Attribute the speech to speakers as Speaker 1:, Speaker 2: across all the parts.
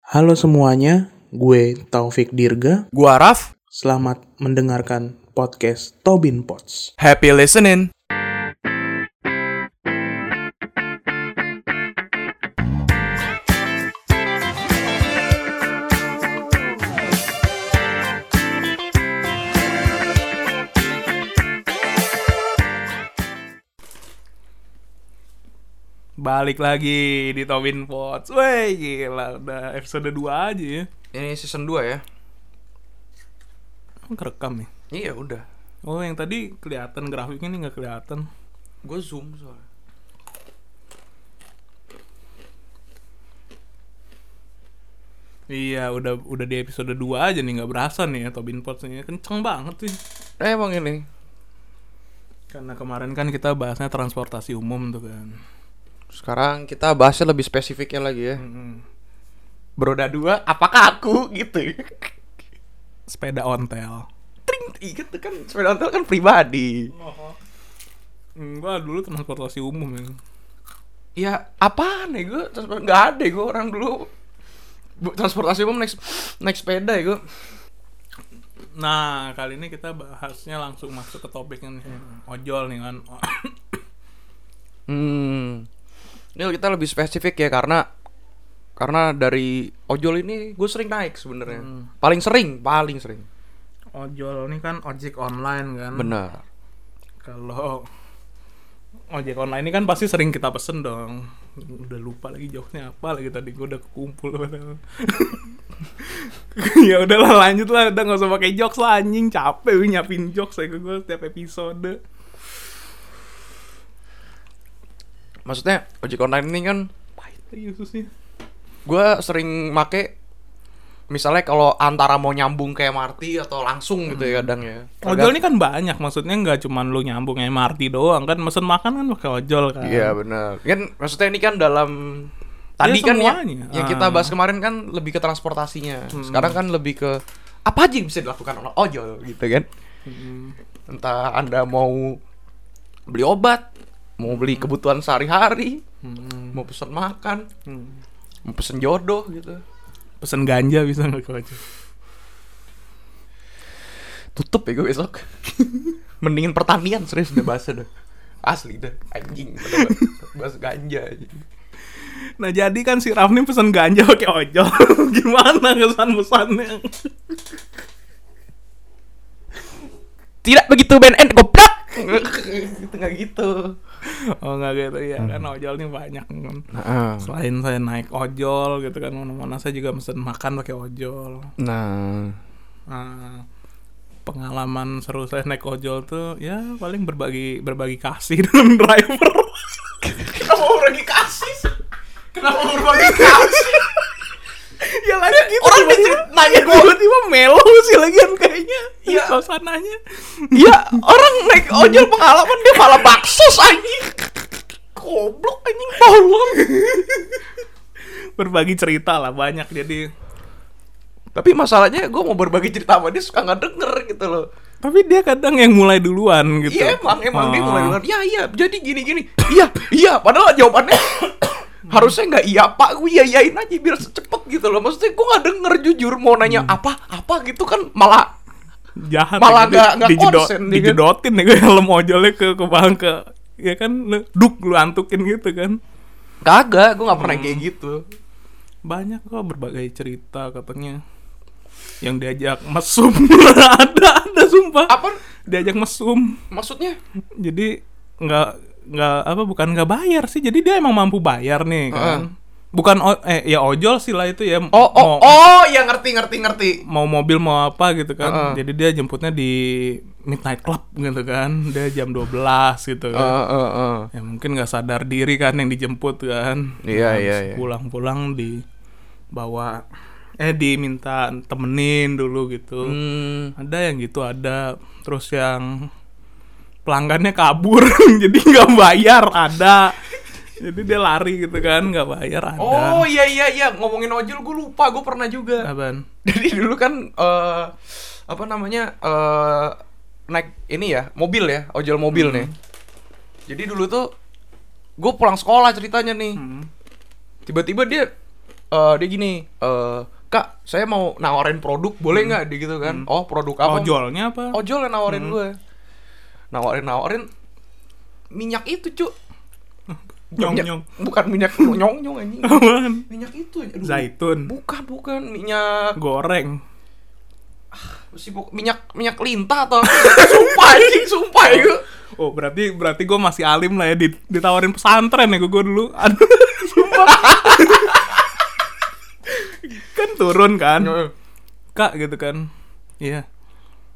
Speaker 1: Halo semuanya, gue Taufik Dirga.
Speaker 2: Gua Raf,
Speaker 1: Selamat mendengarkan podcast Tobin Pots.
Speaker 2: happy listening. Balik lagi di Tobin Pots. Wey, gila. Udah episode 2 aja ya.
Speaker 3: Ini season 2 ya?
Speaker 2: Emang kerekam ya?
Speaker 3: Iya udah
Speaker 2: Oh, yang tadi kelihatan grafiknya nih nggak kelihatan.
Speaker 3: Gue zoom soalnya
Speaker 2: Iya, udah udah di episode 2 aja nih nggak berasa nih ya Tobin Pots nih kenceng banget sih.
Speaker 3: Nah, Emang ini?
Speaker 2: Karena kemarin kan kita bahasnya transportasi umum tuh kan.
Speaker 3: Sekarang kita bahasnya lebih spesifiknya lagi ya Beroda dua, apakah aku? Gitu
Speaker 2: Sepeda ontel.
Speaker 3: Tring, inget tuh kan sepeda ontel kan pribadi
Speaker 2: Enggak, Mm, dulu transportasi umum ya.
Speaker 3: Ya apaan ya gue? Transport... Gak ada gue orang dulu Bu- Transportasi umum naik, naik sepeda ya gue
Speaker 2: Nah, kali ini kita bahasnya langsung masuk ke topiknya nih. Ojol nih kan.
Speaker 3: Hmm Ini kita lebih spesifik ya karena karena dari ojol ini gue sering naik sebenarnya paling sering paling sering
Speaker 2: Ojol ini kan ojek online kan.
Speaker 3: benar
Speaker 2: Kalau ojek online ini kan pasti sering kita pesen dong. Udah lupa lagi jokesnya apa lagi tadi gue udah kumpul padahal. ya udahlah lanjut lah udah nggak usah pakai jokes lah anjing capek gue nyiapin jokes saya gue setiap episode
Speaker 3: maksudnya ojek online ini kan
Speaker 2: pahit lagi ususnya
Speaker 3: gue sering make misalnya kalau antara mau nyambung ke MRT atau langsung gitu ya kadang ya
Speaker 2: ojol ini kan banyak maksudnya nggak cuman lu nyambung MRT doang kan mesen makan kan pakai ojol kan
Speaker 3: iya benar kan maksudnya ini kan dalam tadi kan ya
Speaker 2: semuanya.
Speaker 3: yang
Speaker 2: Ah.
Speaker 3: kita bahas kemarin kan lebih ke transportasinya sekarang kan lebih ke apa aja yang bisa dilakukan oleh ojol gitu kan
Speaker 2: Hmm.
Speaker 3: entah anda mau beli obat mau beli kebutuhan sehari-hari
Speaker 2: Hmm.
Speaker 3: mau pesan makan
Speaker 2: Hmm.
Speaker 3: mau pesan jodoh gitu
Speaker 2: pesen ganja bisa nggak ke ojol
Speaker 3: tutup ya gue besok mendingin pertanian serius udah bahasa dah asli dah anjing bahas ganja gitu. aja
Speaker 2: nah jadi kan si Rafni pesen ganja pakai ojol gimana kesan pesannya
Speaker 3: tidak begitu band end goblok gitu nggak gitu Hmm.
Speaker 2: oh nggak gitu ya kan ojol ini banyak kan
Speaker 3: nah,
Speaker 2: selain saya naik ojol gitu kan mana-mana saya juga pesen makan pakai ojol Nah, pengalaman seru saya naik ojol tuh ya paling berbagi berbagi kasih dengan driver
Speaker 3: kenapa mau berbagi kasih sih? kenapa mau berbagi kasih
Speaker 2: ya lagi gitu
Speaker 3: orang
Speaker 2: tiba-tiba-
Speaker 3: dicerit- nanya gue
Speaker 2: tiba-tiba melo sih lagian kayaknya
Speaker 3: Iya.
Speaker 2: suasananya
Speaker 3: ya orang naik ojol pengalaman dia malah baksos anjing goblok anjing bawang
Speaker 2: berbagi cerita lah banyak jadi
Speaker 3: tapi masalahnya gue mau berbagi cerita sama dia suka nggak denger gitu loh
Speaker 2: tapi dia kadang yang mulai duluan gitu
Speaker 3: Iya emang emang dia
Speaker 2: Ah.
Speaker 3: mulai bilang ya iya jadi gini gini iya iya padahal jawabannya harusnya nggak iya pak gue iya iyain aja biar cepet gitu loh maksudnya gue nggak denger jujur mau nanya
Speaker 2: Hmm.
Speaker 3: apa apa gitu kan malah
Speaker 2: jahat
Speaker 3: Malah
Speaker 2: gitu.
Speaker 3: nggak- nggak
Speaker 2: Dijedot-
Speaker 3: konsen, dia kan.
Speaker 2: dijedotin ya gue helm ojolnya ke ke bang ke ya kan lu- duk lu antukin gitu kan
Speaker 3: kagak gue nggak pernah kayak gitu
Speaker 2: banyak kok berbagai cerita katanya yang diajak mesum ada ada sumpah
Speaker 3: apa
Speaker 2: diajak mesum
Speaker 3: maksudnya
Speaker 2: jadi nggak nggak apa bukan nggak bayar sih jadi dia emang mampu bayar nih kan bukan o- eh ya ojol sih lah itu ya
Speaker 3: oh
Speaker 2: mau,
Speaker 3: oh oh ya ngerti ngerti ngerti
Speaker 2: mau mobil mau apa gitu kan
Speaker 3: Heeh.
Speaker 2: jadi dia jemputnya di midnight club gitu kan dia jam 12 gitu
Speaker 3: Eh,
Speaker 2: kan
Speaker 3: eh, eh.
Speaker 2: ya mungkin nggak sadar diri kan yang dijemput kan
Speaker 3: Iya,
Speaker 2: Habis
Speaker 3: iya, iya.
Speaker 2: pulang-pulang dibawa eh diminta temenin dulu gitu
Speaker 3: Hmm,
Speaker 2: ada yang gitu ada terus yang pelanggannya kabur jadi nggak bayar ada jadi dia lari gitu kan nggak bayar ada
Speaker 3: oh iya iya iya ngomongin ojol gue lupa gue pernah juga
Speaker 2: Apaan?
Speaker 3: jadi dulu kan eh apa namanya eh naik ini ya mobil ya ojol mobil nih Hmm.
Speaker 2: Hmm.
Speaker 3: jadi dulu tuh gue pulang sekolah ceritanya nih tiba-tiba dia eh, dia gini, eh, kak saya mau nawarin produk boleh nggak dia gitu kan? Oh produk apa?
Speaker 2: Ojolnya apa?
Speaker 3: Ojol yang nawarin gue, nawarin nawarin minyak itu cu. Minyak-
Speaker 2: Nyong-nyong.
Speaker 3: Bukan minyak nyong nyong anjing.
Speaker 2: Apaan?
Speaker 3: minyak itu. aduh.
Speaker 2: Zaitun.
Speaker 3: Bukan bukan minyak
Speaker 2: Goreng.
Speaker 3: sibuk minyak minyak lintah atau apa. sumpah anjing sumpah ya. itu.
Speaker 2: Oh berarti berarti gue masih alim lah ya di- ditawarin pesantren ya gue dulu. Aduh, sumpah. kan turun kan, kak gitu kan. Iya.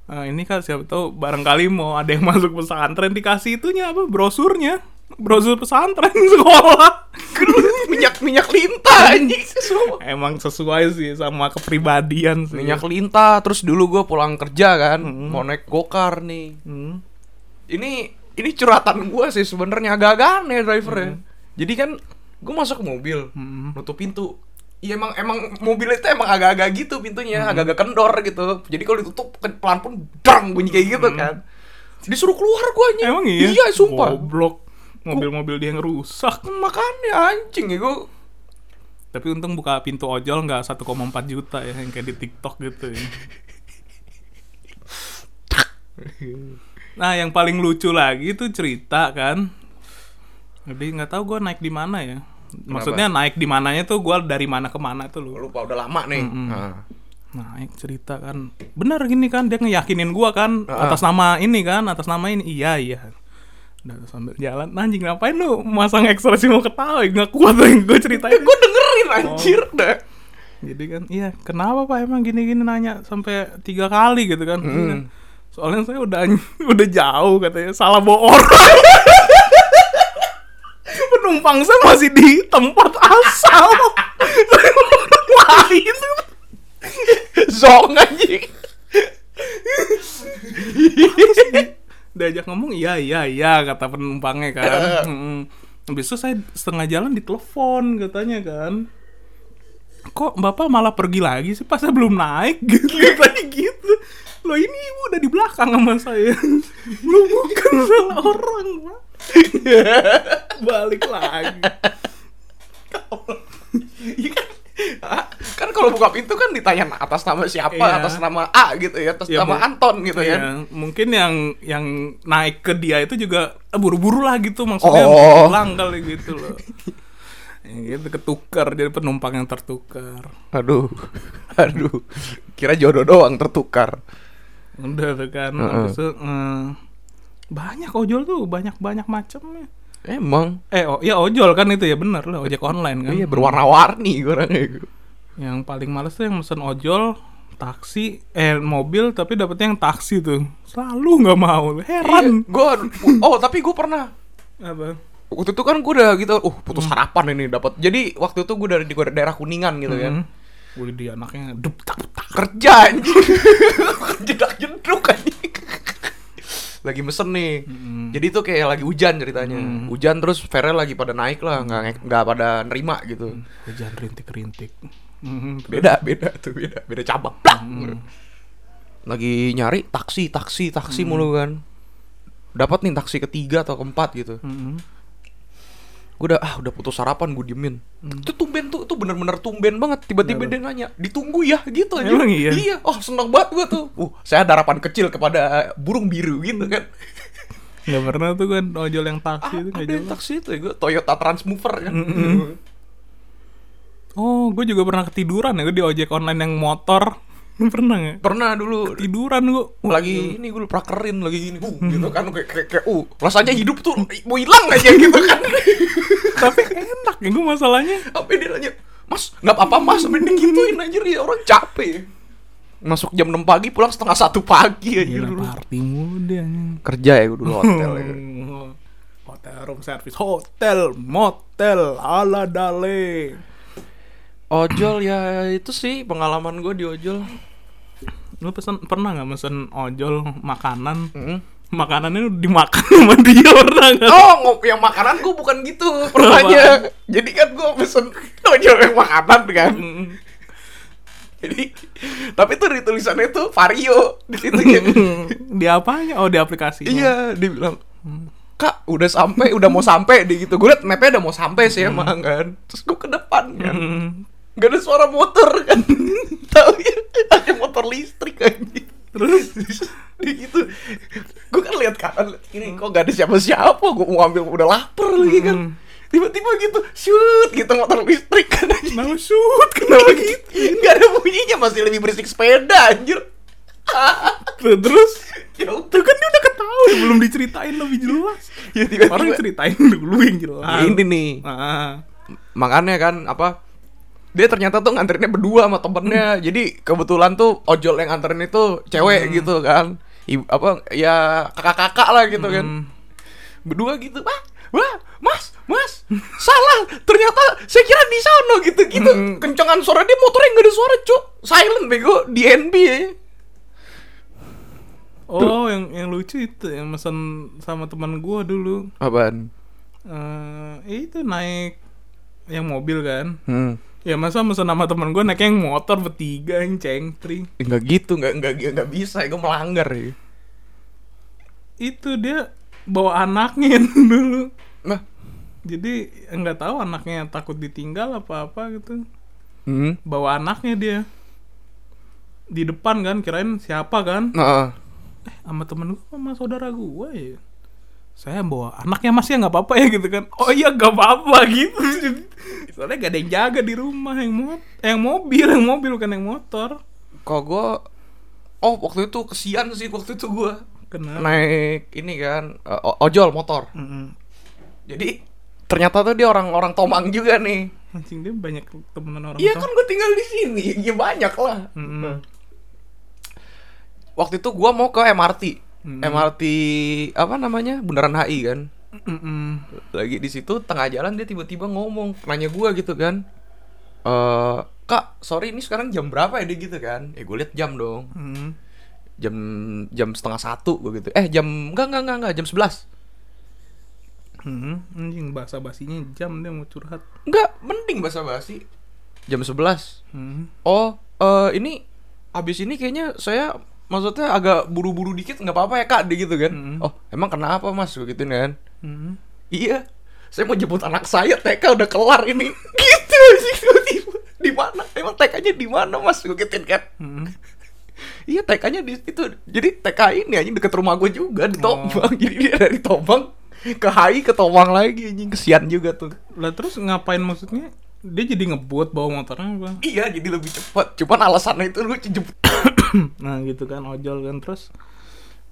Speaker 2: Eh, ini kak siapa tahu barangkali mau ada yang masuk pesantren dikasih itunya apa brosurnya brosur pesantren sekolah.
Speaker 3: minyak minyak lintah anjing sumpah.
Speaker 2: Emang sesuai sih sama kepribadian sih.
Speaker 3: minyak lintah terus dulu gue pulang kerja kan mau naik gokar nih
Speaker 2: Hmm.
Speaker 3: ini ini curhatan gue sih sebenarnya agak-agak aneh drivernya jadi kan gue masuk ke mobil
Speaker 2: Hmm.
Speaker 3: nutup pintu Iya emang emang mobil itu emang agak-agak gitu pintunya
Speaker 2: Hmm.
Speaker 3: agak-agak kendor gitu jadi kalau ditutup ke- pelan pun dang bunyi kayak gitu kan disuruh keluar gue anjing
Speaker 2: Hmm. Emang iya?
Speaker 3: iya sumpah Kan
Speaker 2: Goblok. Mobil-mobil dia yang rusak.
Speaker 3: makanya anjing ya gue
Speaker 2: Tapi untung buka pintu ojol nggak 1,4 juta ya yang kayak di TikTok gitu ya. nah, yang paling lucu lagi itu cerita kan. Jadi nggak tahu gue naik di mana ya. Maksudnya naik di mananya tuh gue dari mana ke mana tuh lu.
Speaker 3: lupa udah lama
Speaker 2: Hmm,
Speaker 3: nih Ah.
Speaker 2: Naik cerita kan. Benar gini kan dia ngeyakinin gua kan atas nama ini kan, atas nama ini. Iya, iya. Udah sambil jalan, anjing ngapain lu masang ekspresi mau ketawa? Nggak kuat gue ceritain.
Speaker 3: gue Eh, dengerin
Speaker 2: Oh.
Speaker 3: anjir dah
Speaker 2: Jadi kan, iya kenapa pak emang gini-gini nanya sampai tiga kali gitu kan? Iya. Soalnya saya udah udah jauh katanya salah bawa orang. Penumpang saya masih di tempat asal. Saya bawa orang lain.
Speaker 3: zong anjing
Speaker 2: Diajak ngomong iya iya iya kata penumpangnya kan. Mm-mm. Habis itu saya setengah jalan ditelepon katanya kan. Kok bapak malah pergi lagi sih pas saya belum naik gitu katanya gitu. Loh ini ibu udah di belakang sama saya. Lu bukan salah orang pak. Balik lagi.
Speaker 3: Hah? kan kalau buka pintu kan ditanya atas nama siapa,
Speaker 2: Iya.
Speaker 3: atas nama A gitu ya, atas
Speaker 2: Iya,
Speaker 3: nama
Speaker 2: Bu.
Speaker 3: Anton gitu
Speaker 2: Iya,
Speaker 3: kan.
Speaker 2: mungkin yang yang naik ke dia itu juga eh, buru-buru lah gitu maksudnya
Speaker 3: Oh.
Speaker 2: pulang kali gitu loh. Ya gitu ketukar jadi penumpang yang tertukar.
Speaker 3: Aduh, aduh, kira jodoh doang tertukar.
Speaker 2: Udah tuh kan. Habis itu, eh, banyak ojol tuh, banyak-banyak macamnya.
Speaker 3: Emang,
Speaker 2: Eh, oh, ya ojol kan itu ya bener lah, ojek online kan.
Speaker 3: iya berwarna-warni orangnya. Iya,
Speaker 2: Yang paling males tuh yang mesen ojol, taksi, eh mobil tapi dapetnya yang taksi tuh. Selalu nggak mau, heran.
Speaker 3: Gue, oh tapi gue pernah
Speaker 2: Apa?
Speaker 3: waktu itu kan gue udah gitu, uh putus harapan ini dapat. Jadi waktu itu gue dari di daerah kuningan gitu kan,
Speaker 2: Hmm. Wih, dia anaknya dup tak tak.
Speaker 3: kerja anjing, jedak jeduk anjing. lagi mesen nih.
Speaker 2: Hmm.
Speaker 3: Jadi itu kayak lagi hujan ceritanya. Hujan terus Ferel lagi pada naik lah, nggak nggak pada nerima gitu.
Speaker 2: Hujan rintik-rintik.
Speaker 3: Beda, beda tuh, beda, beda cabang. Plak! Lagi nyari taksi, taksi, taksi
Speaker 2: Hmm.
Speaker 3: mulu kan. Dapat nih taksi ketiga atau keempat gitu.
Speaker 2: Mm-mm.
Speaker 3: Gue udah ah udah putus sarapan gue diemin.
Speaker 2: Hmm.
Speaker 3: Itu tumben tuh, itu bener-bener tumben banget. Tiba-tiba dia nanya, ditunggu ya gitu aja.
Speaker 2: Iya, Emang iya?
Speaker 3: oh seneng banget gue tuh. Uh, saya ada harapan kecil kepada burung biru gitu kan.
Speaker 2: Nggak pernah tuh kan ojol yang taksi itu
Speaker 3: Ah,
Speaker 2: nggak
Speaker 3: ada yang
Speaker 2: jelas.
Speaker 3: taksi itu ya, gue Toyota Transmover kan.
Speaker 2: Oh, gue juga pernah ketiduran ya, gue di ojek online yang motor. pernah nggak?
Speaker 3: Pernah dulu
Speaker 2: Tiduran gue.
Speaker 3: lagi Iya, ini gue prakerin lagi gini bu gitu kan kayak kayak kayak uh rasanya hidup tuh mau hilang aja gitu kan
Speaker 2: tapi enak ya gue masalahnya
Speaker 3: apa dia nanya mas nggak apa-apa mas mending gituin aja ya orang capek masuk jam 6 pagi pulang setengah satu pagi aja
Speaker 2: gila
Speaker 3: dulu
Speaker 2: party mulu dia anjing.
Speaker 3: kerja ya gue dulu hotel ya.
Speaker 2: hotel room service hotel motel ala dale
Speaker 3: ojol ya itu sih pengalaman gue di ojol
Speaker 2: lu pesen pernah nggak mesen ojol makanan
Speaker 3: Mm.
Speaker 2: makanannya dimakan sama dia pernah nggak
Speaker 3: Oh, ngop yang makanan gue bukan gitu pernahnya. Jadi kan gue pesen ojol yang makanan kan. Jadi tapi tuh di tulisannya tuh vario di situ ya.
Speaker 2: di apanya oh di aplikasi
Speaker 3: iya, dia bilang Kak, udah sampai, udah mau sampai di gitu. Gue liat mapnya udah mau sampai sih emang kan. Terus gue ke depan kan.
Speaker 2: Mm.
Speaker 3: Gak ada suara motor kan tahu ya pakai motor listrik anjing terus gitu gue kan lihat kanan liat kiri kok gak ada siapa-siapa gue mau ambil udah lapar lagi kan
Speaker 2: Hmm.
Speaker 3: tiba-tiba gitu shoot gitu motor listrik kan anjing.
Speaker 2: Nah, shoot
Speaker 3: kenapa gitu gak ada bunyinya masih lebih berisik sepeda anjir
Speaker 2: Terus
Speaker 3: ya udah
Speaker 2: Tuh kan dia udah ketahui Belum diceritain lebih jelas
Speaker 3: ya tiba-tiba
Speaker 2: Orang ceritain dulu yang jelas
Speaker 3: Ya, ini nih
Speaker 2: Ah.
Speaker 3: makanya kan apa dia ternyata tuh nganterinnya berdua sama temennya jadi kebetulan tuh ojol yang nganterin itu cewek gitu kan Ibu, apa ya kakak-kakak lah gitu kan berdua gitu wah wah mas mas salah ternyata saya kira di sana gitu gitu kencengan suara dia motornya nggak ada suara cuk silent bego DNB ya
Speaker 2: Oh yang yang lucu itu yang mesen sama teman gua dulu
Speaker 3: apaan
Speaker 2: eh itu naik yang mobil kan
Speaker 3: hmm.
Speaker 2: ya masa mesen sama temen gue naik yang motor bertiga yang cengtri
Speaker 3: nggak gitu nggak nggak nggak bisa gue melanggar ya
Speaker 2: itu dia bawa anaknya dulu
Speaker 3: nah
Speaker 2: jadi nggak tahu anaknya takut ditinggal apa apa gitu
Speaker 3: hmm.
Speaker 2: bawa anaknya dia di depan kan kirain siapa kan
Speaker 3: nah
Speaker 2: sama temen gue sama saudara gue ya saya bawa anaknya mas ya nggak apa-apa ya gitu kan oh iya nggak apa-apa gitu soalnya gak ada yang jaga di rumah yang mot yang mobil yang mobil bukan yang motor
Speaker 3: kalau gue oh waktu itu kesian sih waktu itu gue Nah.
Speaker 2: kenapa
Speaker 3: naik ini kan eh, o- ojol motor
Speaker 2: Mm-mm.
Speaker 3: jadi ternyata tuh dia orang-orang Tomang juga nih
Speaker 2: anjing dia banyak temenan orang
Speaker 3: iya
Speaker 2: tua.
Speaker 3: kan Nah. gue tinggal di sini ya banyak lah
Speaker 2: Mm-mm.
Speaker 3: waktu itu gue mau ke MRT MRT apa namanya Bundaran HI kan
Speaker 2: Mm-mm.
Speaker 3: lagi di situ tengah jalan dia tiba-tiba ngomong nanya gue gitu kan eh kak sorry ini sekarang jam berapa ya dia gitu kan ya gue liat jam dong
Speaker 2: Mm.
Speaker 3: jam jam setengah satu gue gitu eh jam enggak enggak enggak, enggak jam sebelas
Speaker 2: Mm. anjing bahasa basinya jam dia mau curhat
Speaker 3: enggak mending bahasa basi jam sebelas
Speaker 2: Mm.
Speaker 3: oh eh, ini abis ini kayaknya saya maksudnya agak buru-buru dikit nggak apa-apa ya kak dia gitu kan
Speaker 2: Mm.
Speaker 3: oh emang kenapa mas gue gituin kan
Speaker 2: Mm.
Speaker 3: iya saya mau jemput anak saya TK udah kelar ini gitu sih tiba-tiba di mana emang TK-nya di mana mas gue gituin kan
Speaker 2: Mm.
Speaker 3: Iya TK-nya di itu. Jadi TK ini anjing deket rumah gue juga di Tomang. Jadi dia dari Tomang ke HI ke Tomang lagi anjing kesian juga tuh.
Speaker 2: lah terus ngapain maksudnya dia jadi ngebut bawa motornya apa
Speaker 3: Iya jadi lebih cepat. Cuman alasannya itu lu jemput.
Speaker 2: nah gitu kan ojol kan terus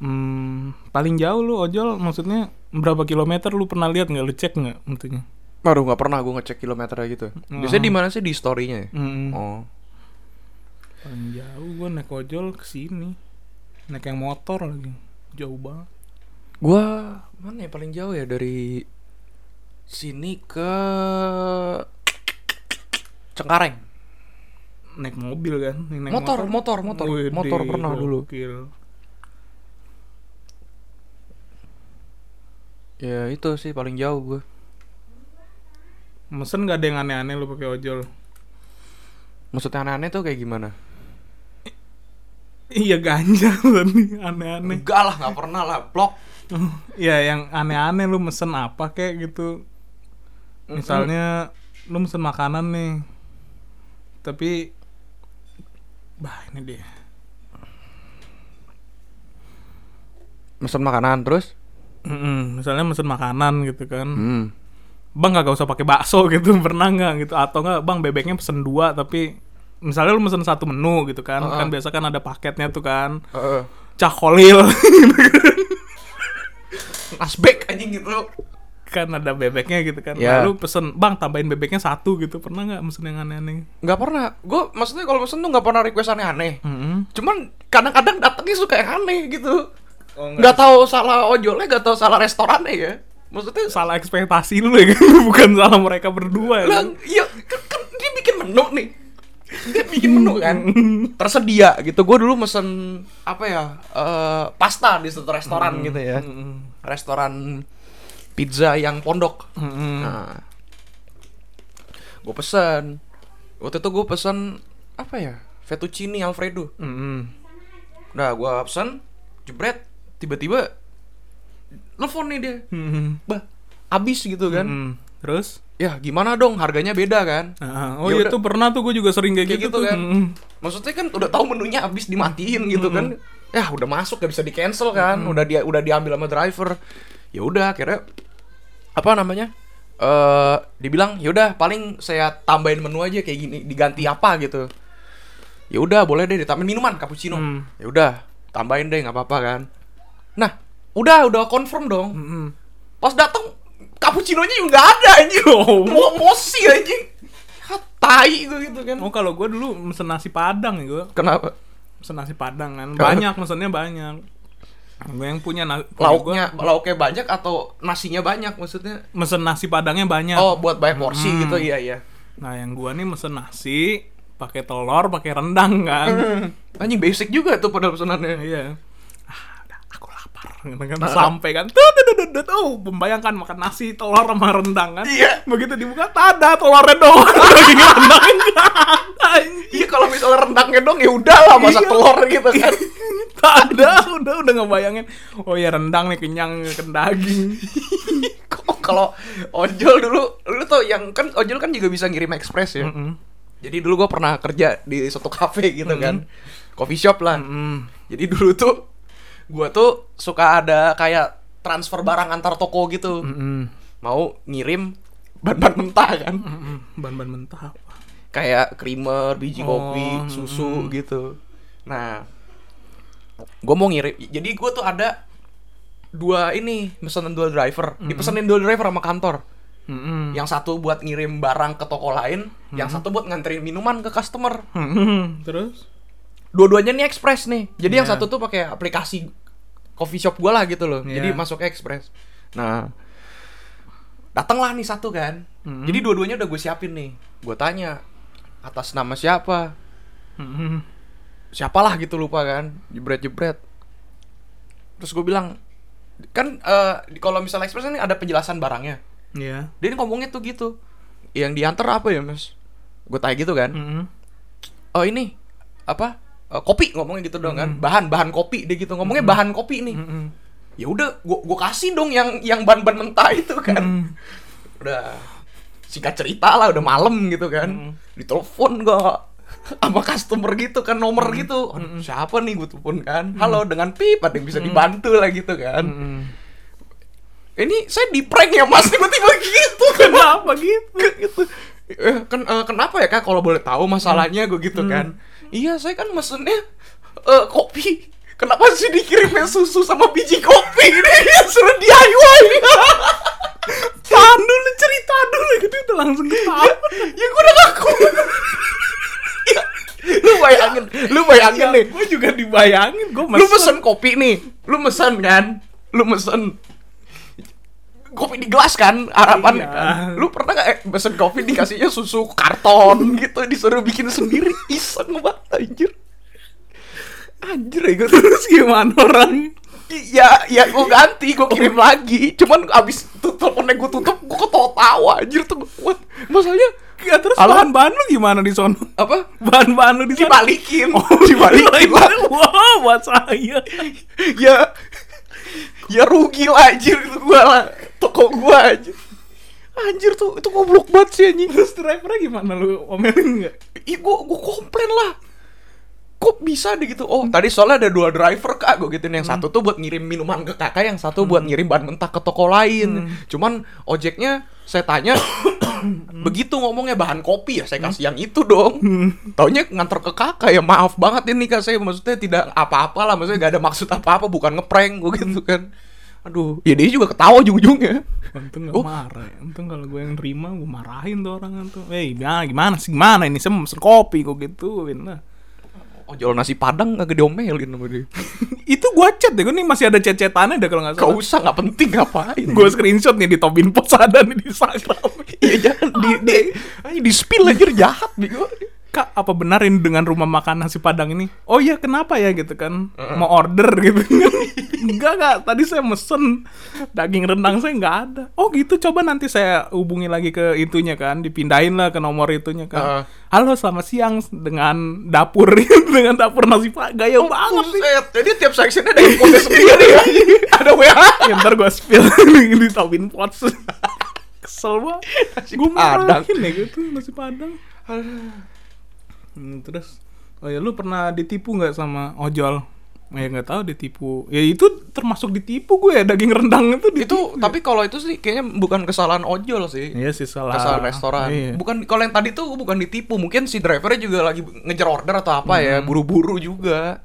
Speaker 2: mm, paling jauh lu ojol maksudnya berapa kilometer lu pernah lihat nggak lu cek nggak maksudnya
Speaker 3: Baru nggak pernah gue ngecek kilometernya gitu. Biasanya di mana sih di story-nya ya?
Speaker 2: Mm.
Speaker 3: Oh.
Speaker 2: paling jauh gua naik ojol ke sini naik yang motor lagi jauh banget
Speaker 3: Gua mana ya paling jauh ya dari sini ke Cengkareng.
Speaker 2: naik mobil kan yang naik
Speaker 3: Motor, motor, motor.
Speaker 2: Widih,
Speaker 3: Motor pernah dulu.
Speaker 2: gokil.
Speaker 3: Ya itu sih paling jauh gue.
Speaker 2: Mesen gak ada yang aneh-aneh lu pakai ojol?
Speaker 3: Maksudnya aneh-aneh tuh kayak gimana?
Speaker 2: Iya ganja tadi aneh-aneh.
Speaker 3: Enggak lah, nggak pernah lah, blok.
Speaker 2: Iya yang aneh-aneh lu mesen apa kayak gitu. Misalnya lu mesen makanan nih. Tapi bah ini dia.
Speaker 3: Mesen makanan terus?
Speaker 2: Mm-mm, misalnya mesen makanan gitu kan.
Speaker 3: Hmm.
Speaker 2: Bang gak, usah pakai bakso gitu, pernah nggak gitu atau nggak Bang bebeknya pesen dua tapi misalnya lu mesen satu menu gitu kan.
Speaker 3: Uh-uh.
Speaker 2: Kan biasa kan ada paketnya tuh kan.
Speaker 3: Heeh.
Speaker 2: Cakolil
Speaker 3: Asbek anjing gitu.
Speaker 2: kan ada bebeknya gitu kan
Speaker 3: Ya.
Speaker 2: lalu pesen bang tambahin bebeknya satu gitu pernah nggak mesen yang aneh-aneh
Speaker 3: Gak pernah. Gue maksudnya kalau pesen tuh gak pernah request aneh-aneh.
Speaker 2: Mm-mm.
Speaker 3: Cuman kadang-kadang datangnya suka yang aneh gitu.
Speaker 2: Oh,
Speaker 3: nggak tahu salah ojolnya, gak tahu salah restorannya ya. Maksudnya
Speaker 2: salah ekspektasi lu ya kan bukan salah mereka berdua ya kan?
Speaker 3: Lah, iya kan, kan dia bikin menu nih. Dia bikin menu kan. Tersedia gitu. Gue dulu mesen apa ya? eh, pasta di satu restoran
Speaker 2: Hmm.
Speaker 3: gitu ya. Restoran pizza yang pondok.
Speaker 2: Mm-mm.
Speaker 3: Nah, gue pesen. Waktu itu gue pesen apa ya? Fettuccine Alfredo.
Speaker 2: Mm-mm.
Speaker 3: Udah gue pesen, jebret, tiba-tiba telepon nih dia.
Speaker 2: Mm-mm.
Speaker 3: Bah, abis gitu kan.
Speaker 2: Mm. terus
Speaker 3: ya gimana dong harganya beda kan
Speaker 2: Nah, oh
Speaker 3: Ya
Speaker 2: iya
Speaker 3: udah.
Speaker 2: tuh pernah tuh gue juga sering kayak,
Speaker 3: kayak
Speaker 2: gitu,
Speaker 3: gitu,
Speaker 2: tuh.
Speaker 3: kan
Speaker 2: Mm.
Speaker 3: maksudnya kan udah tahu menunya habis dimatiin gitu kan ya udah masuk gak bisa di cancel kan udah dia udah diambil sama driver ya udah akhirnya apa namanya eh dibilang ya udah paling saya tambahin menu aja kayak gini diganti apa gitu ya udah boleh deh ditambahin minuman cappuccino
Speaker 2: Hmm.
Speaker 3: ya udah tambahin deh nggak apa-apa kan nah udah udah confirm dong
Speaker 2: Mm-mm.
Speaker 3: pas datang cappuccinonya juga nggak ada anjing
Speaker 2: Oh.
Speaker 3: mau mosi anjing Ya, tai gue gitu kan
Speaker 2: Oh kalau gue dulu mesen nasi padang ya gue
Speaker 3: kenapa
Speaker 2: mesen nasi padang kan
Speaker 3: Kalau-
Speaker 2: banyak mesennya banyak gue yang punya na- punya
Speaker 3: lauknya
Speaker 2: gua
Speaker 3: lauknya banyak atau nasinya banyak maksudnya
Speaker 2: mesen nasi padangnya banyak
Speaker 3: oh buat banyak porsi
Speaker 2: Hmm.
Speaker 3: gitu iya iya
Speaker 2: nah yang gue nih mesen nasi pakai telur pakai rendang kan
Speaker 3: Hmm. anjing basic juga tuh padahal pesanannya
Speaker 2: iya ah udah, aku lapar gitu kan sampai kan tuh tuh tuh, tuh tuh tuh Oh, membayangkan makan nasi telur sama rendang kan
Speaker 3: Iya.
Speaker 2: begitu dibuka tada telurnya doang daging rendang
Speaker 3: iya kalau misalnya rendangnya dong ya udah lah masak
Speaker 2: Iya.
Speaker 3: telur gitu kan
Speaker 2: ada udah udah ngebayangin oh ya rendang nih kenyang kan daging
Speaker 3: Kok kalau ojol dulu dulu tuh yang kan ojol kan juga bisa ngirim ekspres ya
Speaker 2: Mm-mm.
Speaker 3: jadi dulu gua pernah kerja di suatu kafe gitu kan coffee shop lah
Speaker 2: Mm.
Speaker 3: Jadi dulu tuh gua tuh suka ada kayak transfer barang antar toko gitu.
Speaker 2: Mm-mm.
Speaker 3: Mau ngirim bahan-bahan mentah kan.
Speaker 2: Mm-mm. ban-ban mentah apa?
Speaker 3: Kayak creamer, biji
Speaker 2: Oh,
Speaker 3: kopi, susu gitu. Nah, gua mau ngirim. Jadi gua tuh ada dua ini pesanan dual driver. Dipesenin dual driver sama kantor.
Speaker 2: Mm-mm.
Speaker 3: Yang satu buat ngirim barang ke toko lain, yang satu buat nganterin minuman ke customer.
Speaker 2: Mm-mm. terus
Speaker 3: dua-duanya nih express nih. Jadi yang
Speaker 2: Iya.
Speaker 3: satu tuh pakai aplikasi coffee shop gua lah gitu loh. Jadi
Speaker 2: Iya.
Speaker 3: masuk express. Nah, datanglah nih satu kan.
Speaker 2: Mhm.
Speaker 3: Jadi dua-duanya udah gue siapin nih. Gue tanya atas nama siapa?
Speaker 2: Mm-mm.
Speaker 3: Siapalah gitu lupa kan. Jebret-jebret. Terus gue bilang kan eh, di- kalau misalnya express kan ada penjelasan barangnya.
Speaker 2: ya
Speaker 3: Dia ngomongnya tuh gitu. Yang diantar apa ya, Mas? Gue tanya gitu kan.
Speaker 2: Mm-mm.
Speaker 3: oh ini apa Eh, kopi ngomongnya gitu dong kan bahan bahan kopi dia gitu ngomongnya bahan kopi nih
Speaker 2: Mm-mm.
Speaker 3: ya udah gua gua kasih dong yang yang bahan bahan mentah itu kan
Speaker 2: Mm.
Speaker 3: udah singkat cerita lah udah malam gitu kan ditelepon gua sama customer gitu kan nomor gitu Aduh, siapa nih gue telepon kan halo dengan pip ada yang bisa dibantu lah gitu kan
Speaker 2: Mm-mm.
Speaker 3: ini saya di prank ya mas tiba-tiba gitu
Speaker 2: kenapa gitu
Speaker 3: gitu Eh, ken- eh, kenapa ya kak kalau boleh tahu masalahnya gue gitu kan iya saya kan mesennya eh, kopi kenapa sih dikirimnya susu sama biji kopi ini suruh DIY
Speaker 2: tahan dulu cerita dulu gitu udah langsung ketawa
Speaker 3: ya gue udah ngaku Ya, lu bayangin lu bayangin nih
Speaker 2: gue juga dibayangin gue
Speaker 3: lu mesen kopi nih lu mesen kan lu mesen kopi di gelas kan harapan
Speaker 2: Iya.
Speaker 3: kan? lu pernah gak eh, mesen kopi dikasihnya susu karton gitu disuruh bikin sendiri iseng banget anjir anjir ya gue
Speaker 2: terus gimana orang
Speaker 3: ya ya gue ganti gue kirim lagi cuman abis tuh teleponnya gue tutup gue ketawa tawa anjir tuh gua, what? masalahnya
Speaker 2: ya terus
Speaker 3: Halo?
Speaker 2: bahan-bahan lu gimana di sono
Speaker 3: apa
Speaker 2: bahan-bahan lu di sono
Speaker 3: dibalikin dibalikin lah.
Speaker 2: wah buat saya
Speaker 3: ya ya rugi lah anjir itu gua lah toko gua anjir anjir tuh itu goblok banget sih anjing
Speaker 2: terus drivernya gimana lu omelin nggak
Speaker 3: Ih, gua gua komplain lah kok bisa deh gitu oh tadi soalnya ada dua driver kak gua gituin yang satu tuh buat ngirim minuman ke kakak yang satu buat ngirim bahan mentah ke toko lain cuman ojeknya saya tanya begitu ngomongnya bahan kopi ya saya kasih yang itu dong taunya nganter ke kakak ya maaf banget ini kak saya maksudnya tidak apa-apa lah maksudnya gak ada maksud apa-apa bukan ngeprank gua gitu kan aduh ya dia juga ketawa ujung-ujungnya
Speaker 2: Untung gak
Speaker 3: Oh.
Speaker 2: marah ya. Untung kalau gue yang nerima gue marahin tuh orang tuh. Eh gimana gimana sih gimana ini sem mesen kopi gue gituin lah.
Speaker 3: ojol Oh, nasi padang agak diomelin sama dia
Speaker 2: Itu gue chat deh gue nih masih ada chat-chatannya deh kalau nggak
Speaker 3: gak
Speaker 2: salah.
Speaker 3: usah nggak penting ngapain
Speaker 2: Gue screenshot nih di Tobin Pos ada nih di Instagram.
Speaker 3: Iya jangan di di ayo di spill anjir jahat bego.
Speaker 2: Kak apa benar ini dengan rumah makan nasi padang ini? Oh iya kenapa ya gitu kan? Mau order gitu. Enggak enggak tadi saya mesen daging rendang saya nggak ada. Oh gitu coba nanti saya hubungi lagi ke itunya kan, dipindahin lah ke nomor itunya kan.
Speaker 3: Heeh.
Speaker 2: Halo selamat siang dengan dapur dengan dapur nasi padang gaya banget snih.
Speaker 3: Oh, Buset, jadi tiap sectionnya ada infonya sendiri ya. Ada WA.
Speaker 2: Ya, ntar gue spill di Tobin Pots. kesel banget
Speaker 3: Nasi
Speaker 2: gue
Speaker 3: Padang.
Speaker 2: marahin ya gitu nasi padang Hmm, terus oh ya lu pernah ditipu nggak sama ojol ya nggak tahu ditipu ya itu termasuk ditipu gue ya daging rendang itu
Speaker 3: itu
Speaker 2: ditipu.
Speaker 3: tapi kalau itu sih kayaknya bukan kesalahan ojol sih
Speaker 2: Iya sih salah
Speaker 3: kesalahan restoran
Speaker 2: Iya.
Speaker 3: bukan kalau yang tadi tuh bukan ditipu mungkin si drivernya juga lagi ngejar order atau apa ya buru-buru juga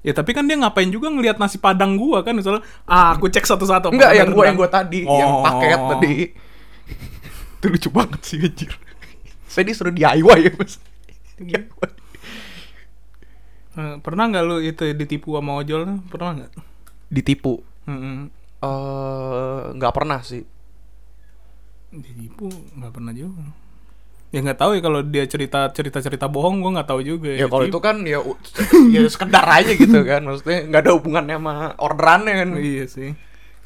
Speaker 2: ya tapi kan dia ngapain juga ngelihat nasi padang gua kan misalnya ah aku cek satu-satu apa
Speaker 3: enggak yang
Speaker 2: ada
Speaker 3: gua yang
Speaker 2: rendang.
Speaker 3: gua tadi yang
Speaker 2: Oh.
Speaker 3: paket tadi itu lucu banget sih anjir saya disuruh DIY ya mas DIY.
Speaker 2: Eh, pernah nggak lu itu ditipu sama ojol pernah nggak Hmm,
Speaker 3: ditipu
Speaker 2: Mm-mm.
Speaker 3: Eh, nggak pernah sih
Speaker 2: ditipu nggak pernah juga ya nggak tahu ya kalau dia cerita cerita cerita bohong gua nggak tahu juga
Speaker 3: ya kalau
Speaker 2: ditipu.
Speaker 3: itu kan ya u- ya sekedar aja gitu kan maksudnya nggak ada hubungannya sama orderannya kan
Speaker 2: iya sih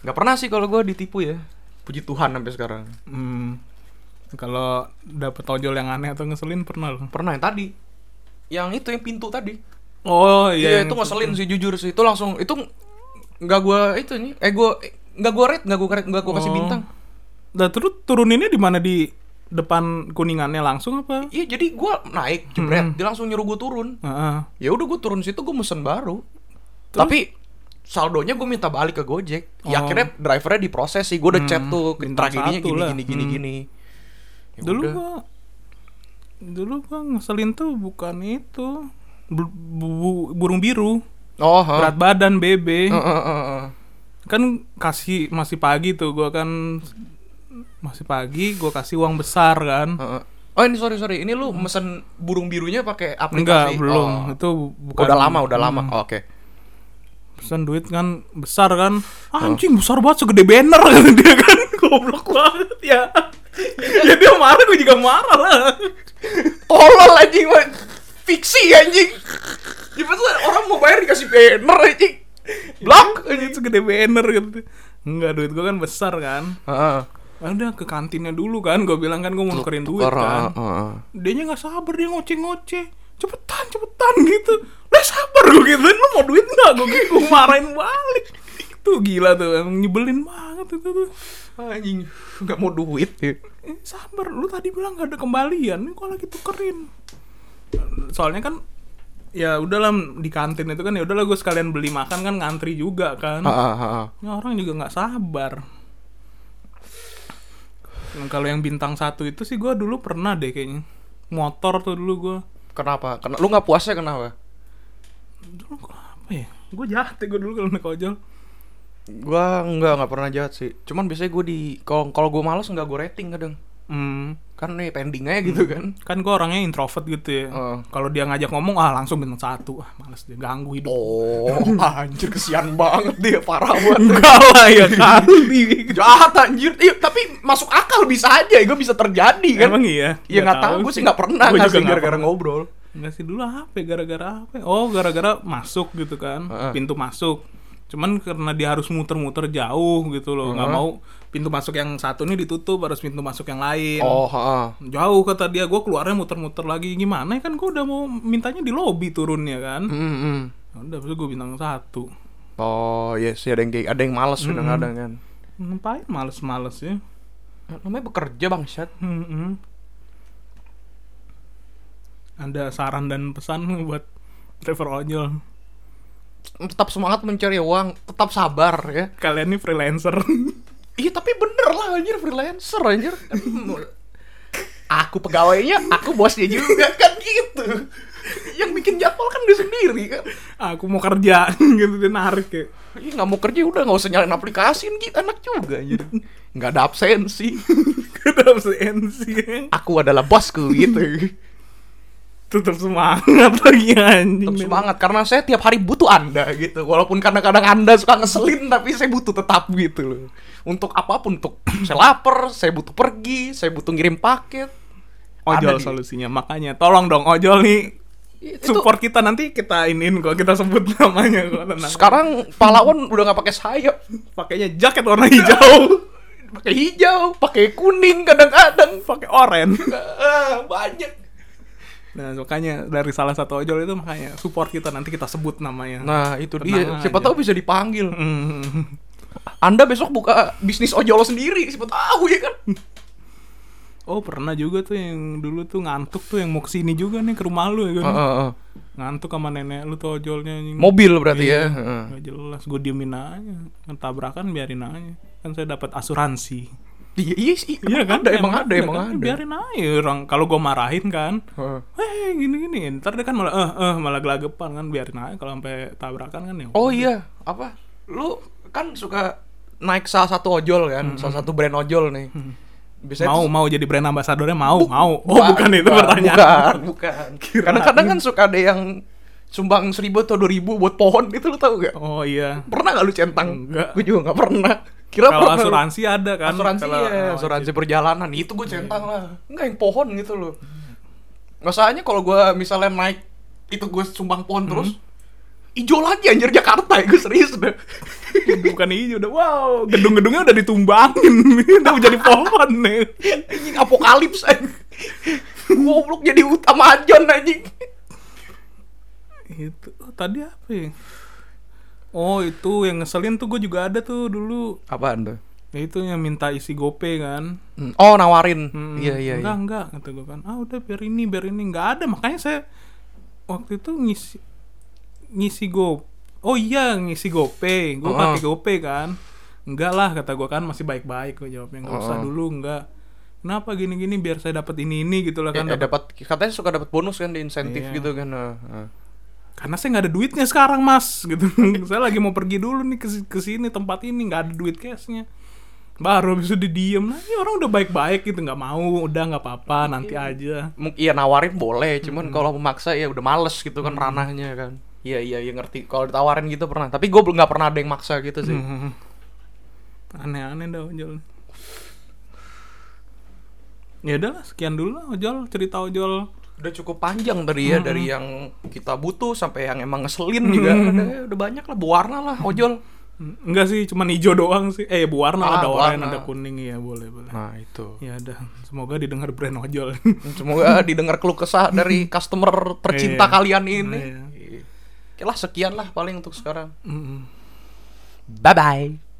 Speaker 3: nggak pernah sih kalau gua ditipu ya puji Tuhan sampai sekarang
Speaker 2: Hmm. Kalau dapet ojol yang aneh atau ngeselin pernah lo?
Speaker 3: pernah yang tadi yang itu yang pintu tadi
Speaker 2: Oh
Speaker 3: iya
Speaker 2: yang
Speaker 3: itu ngeselin sih jujur sih itu langsung itu nggak gua itu nih eh gua nggak gua rate nggak gua rate nggak gua kasih
Speaker 2: Oh.
Speaker 3: bintang
Speaker 2: Nah terus turuninnya di mana di depan kuningannya langsung apa?
Speaker 3: iya jadi gua naik jebret
Speaker 2: Hmm.
Speaker 3: dia langsung nyuruh gua turun
Speaker 2: Heeh.
Speaker 3: ya udah gua turun situ gua mesen baru tapi saldonya gua minta balik ke Gojek
Speaker 2: Oh.
Speaker 3: ya
Speaker 2: Hmm,
Speaker 3: akhirnya drivernya diproses sih gua udah chat tuh
Speaker 2: bintang
Speaker 3: tragedinya
Speaker 2: satu
Speaker 3: gini,
Speaker 2: lah.
Speaker 3: gini gini
Speaker 2: Hmm.
Speaker 3: gini Ya
Speaker 2: dulu
Speaker 3: udah.
Speaker 2: gua dulu gua ngeselin tuh bukan itu Bu- bu- bu- burung biru
Speaker 3: oh ha.
Speaker 2: berat badan bebe
Speaker 3: Eh, eh, eh, eh.
Speaker 2: kan kasih masih pagi tuh gua kan masih pagi gua kasih uang besar kan
Speaker 3: Eh, eh. oh ini sorry sorry ini lu mesen burung birunya pakai aplikasi
Speaker 2: enggak belum
Speaker 3: Oh.
Speaker 2: itu bukan Hmm.
Speaker 3: udah lama udah lama Oh, oke
Speaker 2: pesan duit kan besar kan anjing besar banget segede banner kan dia kan goblok banget ya ya dia marah gue juga marah lah
Speaker 3: tolol anjing man. fiksi anjing ya maksudnya orang mau bayar dikasih banner anjing blok
Speaker 2: anjing segede banner gitu enggak duit gue kan besar kan
Speaker 3: Heeh.
Speaker 2: Ah, udah ke kantinnya dulu kan gue bilang kan gue mau nukerin duit kan
Speaker 3: Orang, heeh.
Speaker 2: dianya nggak sabar dia ngoceh-ngoceh cepetan cepetan gitu udah sabar gue gitu lu mau duit nggak gue gitu gue marahin balik tuh gila tuh emang nyebelin banget itu tuh
Speaker 3: anjing nggak mau duit ya.
Speaker 2: Eh, sabar, lu tadi bilang gak ada kembalian, ini kok lagi tukerin. Soalnya kan ya udahlah di kantin itu kan ya udahlah gue sekalian beli makan kan ngantri juga kan.
Speaker 3: Heeh, heeh.
Speaker 2: Ya, orang juga nggak sabar. Nah, Kalau yang bintang satu itu sih gue dulu pernah deh kayaknya. Motor tuh dulu gue.
Speaker 3: kenapa Kena, lu nggak puasnya kenapa
Speaker 2: Dulu gua apa ya? Gue jahat gue dulu kalau naik ojol.
Speaker 3: gua nggak nggak pernah jahat sih cuman biasanya gua di kalau kalau gua malas nggak gua rating kadang
Speaker 2: Hmm,
Speaker 3: kan nih pending aja gitu kan
Speaker 2: kan gue orangnya introvert gitu ya.
Speaker 3: Heeh.
Speaker 2: Kalau dia ngajak ngomong ah langsung bintang satu. Ah males dia ganggu hidup.
Speaker 3: oh anjir kesian banget dia parah banget
Speaker 2: Enggak lah ya kali.
Speaker 3: jahat anjir Iya, tapi masuk akal bisa aja gue bisa terjadi kan
Speaker 2: Emang iya?
Speaker 3: Ya nggak tahu, gue sih nggak
Speaker 2: Gua
Speaker 3: pernah
Speaker 2: juga
Speaker 3: ngasih
Speaker 2: nggak
Speaker 3: gara-gara
Speaker 2: pernah.
Speaker 3: ngobrol.
Speaker 2: Nggak sih dulu apa ya, gara-gara apa ya? Oh gara-gara masuk gitu kan
Speaker 3: Heeh.
Speaker 2: Pintu masuk Cuman karena dia harus muter-muter jauh gitu loh nggak mau pintu masuk yang satu ini ditutup Harus pintu masuk yang lain
Speaker 3: Oh, heeh.
Speaker 2: Jauh kata dia Gue keluarnya muter-muter lagi Gimana ya kan gue udah mau mintanya di lobby turunnya kan
Speaker 3: Mm,
Speaker 2: Ya Udah terus gue bintang satu
Speaker 3: Oh, yes, ada yang kayak- ada yang malas kadang-kadang kan.
Speaker 2: Ngapain males-males ya
Speaker 3: Namanya bekerja bangsat.
Speaker 2: Mm-mm. Ada saran dan pesan buat driver ojol
Speaker 3: Tetap semangat mencari uang, tetap sabar ya.
Speaker 2: kalian nih freelancer
Speaker 3: Iya, tapi bener lah anjir freelancer anjir. aku pegawainya, aku bosnya juga kan gitu. Yang bikin jadwal kan dia sendiri kan.
Speaker 2: aku mau kerja gitu dia narik ya
Speaker 3: Iya nggak mau kerja udah nggak usah nyalain aplikasi gitu enak juga anjir. Nggak ada absensi.
Speaker 2: tetap CNC
Speaker 3: Aku adalah bosku gitu.
Speaker 2: tetap semangat lagi anjing
Speaker 3: tetap semangat karena saya tiap hari butuh anda gitu walaupun kadang-kadang anda suka ngeselin tapi saya butuh tetap gitu loh untuk apapun untuk saya lapar saya butuh pergi saya butuh ngirim paket
Speaker 2: ojol
Speaker 3: Ada di-
Speaker 2: solusinya makanya tolong dong ojol nih
Speaker 3: Itu-
Speaker 2: support kita nanti kita inin kok kita sebut namanya kok tenang
Speaker 3: sekarang pahlawan udah nggak pakai sayap
Speaker 2: pakainya jaket warna hijau
Speaker 3: pakai hijau pakai kuning kadang-kadang
Speaker 2: pakai oranye
Speaker 3: Ah, banyak
Speaker 2: nah makanya dari salah satu ojol itu makanya support kita nanti kita sebut namanya
Speaker 3: nah itu
Speaker 2: Tenang
Speaker 3: dia siapa
Speaker 2: aja.
Speaker 3: tahu bisa dipanggil
Speaker 2: Hmm.
Speaker 3: anda besok buka bisnis ojol sendiri siapa tahu ya kan
Speaker 2: oh pernah juga tuh yang dulu tuh ngantuk tuh yang mau kesini juga nih ke rumah lu ya kan
Speaker 3: Heeh, heeh.
Speaker 2: ngantuk sama nenek lu tuh ojolnya anjing.
Speaker 3: Mobil berarti
Speaker 2: Iya.
Speaker 3: ya. heeh.
Speaker 2: Nggak jelas gue diemin aja tabrakan biarin aja kan saya dapat asuransi
Speaker 3: Iya, iya, sih, emang ada, emang ada, emang
Speaker 2: kan?
Speaker 3: ada.
Speaker 2: biarin aja orang kalau gue marahin kan
Speaker 3: Heeh.
Speaker 2: eh gini gini ntar dia kan malah eh eh malah gelagapan kan biarin aja kalau sampai tabrakan kan ya
Speaker 3: Oh iya, apa? Lu kan suka naik salah satu ojol kan, salah satu brand ojol nih. Biasanya
Speaker 2: Hmm, mau
Speaker 3: tuh-
Speaker 2: mau jadi brand ambassadornya mau mau oh
Speaker 3: Ba-
Speaker 2: bukan itu
Speaker 3: ba-
Speaker 2: pertanyaan
Speaker 3: Bukan, bukan. Kadang-kadang kan suka ada yang sumbang seribu atau dua ribu buat pohon itu lu tahu gak?
Speaker 2: oh iya
Speaker 3: Pernah gak lu centang?
Speaker 2: Enggak.
Speaker 3: Gue juga gak pernah. Kira
Speaker 2: kalau
Speaker 3: pernah.
Speaker 2: asuransi ada kan
Speaker 3: asuransi
Speaker 2: Kalau- Iya.
Speaker 3: ya,
Speaker 2: oh,
Speaker 3: asuransi perjalanan itu gue centang lah. Enggak yang pohon gitu loh. Masalahnya kalau gue misalnya naik itu gue sumbang pohon terus,
Speaker 2: Hmm.
Speaker 3: ijo lagi anjir Jakarta ya gue serius deh.
Speaker 2: bukan hijau udah wow gedung-gedungnya udah ditumbangin udah jadi pohon nih
Speaker 3: anjing apokalips anjing. Goblok jadi utama John anjing.
Speaker 2: itu oh, tadi apa ya oh itu yang ngeselin tuh gue juga ada tuh dulu
Speaker 3: Apaan tuh?
Speaker 2: ya itu yang minta isi gope kan
Speaker 3: Oh nawarin.
Speaker 2: Hmm,
Speaker 3: Iya iya iya.
Speaker 2: enggak enggak kata gue kan ah udah biar ini biar ini nggak ada makanya saya waktu itu ngisi ngisi go oh iya ngisi gope gue
Speaker 3: Oh,
Speaker 2: pakai
Speaker 3: oh.
Speaker 2: gope kan enggak lah kata gue kan masih baik baik gue jawabnya nggak usah
Speaker 3: Oh, oh.
Speaker 2: dulu enggak kenapa gini gini biar saya dapat ini ini gitu lah
Speaker 3: Eh,
Speaker 2: kan
Speaker 3: eh,
Speaker 2: dapet-
Speaker 3: dapat katanya suka dapat bonus kan di insentif
Speaker 2: Iya.
Speaker 3: gitu kan. Nah, nah.
Speaker 2: karena saya nggak ada duitnya sekarang mas gitu saya lagi mau pergi dulu nih ke, ke sini tempat ini nggak ada duit cashnya baru bisa itu diem lagi orang udah baik baik gitu nggak mau udah nggak apa apa nanti aja
Speaker 3: Mung- Iya nawarin boleh, cuman kalau memaksa ya udah males gitu kan ranahnya kan. Iya iya iya ngerti. Kalau ditawarin gitu pernah, tapi gue belum nggak pernah ada yang maksa gitu sih.
Speaker 2: aneh-aneh dah ojol ya udahlah sekian dulu lah ojol cerita ojol
Speaker 3: Udah cukup panjang tadi ya dari yang kita butuh sampai yang emang ngeselin juga. Ada, udah banyak lah, berwarna lah ojol.
Speaker 2: enggak sih cuman hijau doang sih eh berwarna lah,
Speaker 3: Ah,
Speaker 2: ada oranye
Speaker 3: warna.
Speaker 2: ada kuning ya boleh boleh
Speaker 3: Nah itu.
Speaker 2: ya udah semoga didengar brand ojol
Speaker 3: Mm, Semoga didengar keluh kesah dari customer tercinta
Speaker 2: Iya.
Speaker 3: kalian ini.
Speaker 2: Iya.
Speaker 3: Oke lah sekian lah paling untuk sekarang.
Speaker 2: Mm-mm.
Speaker 3: Bye bye.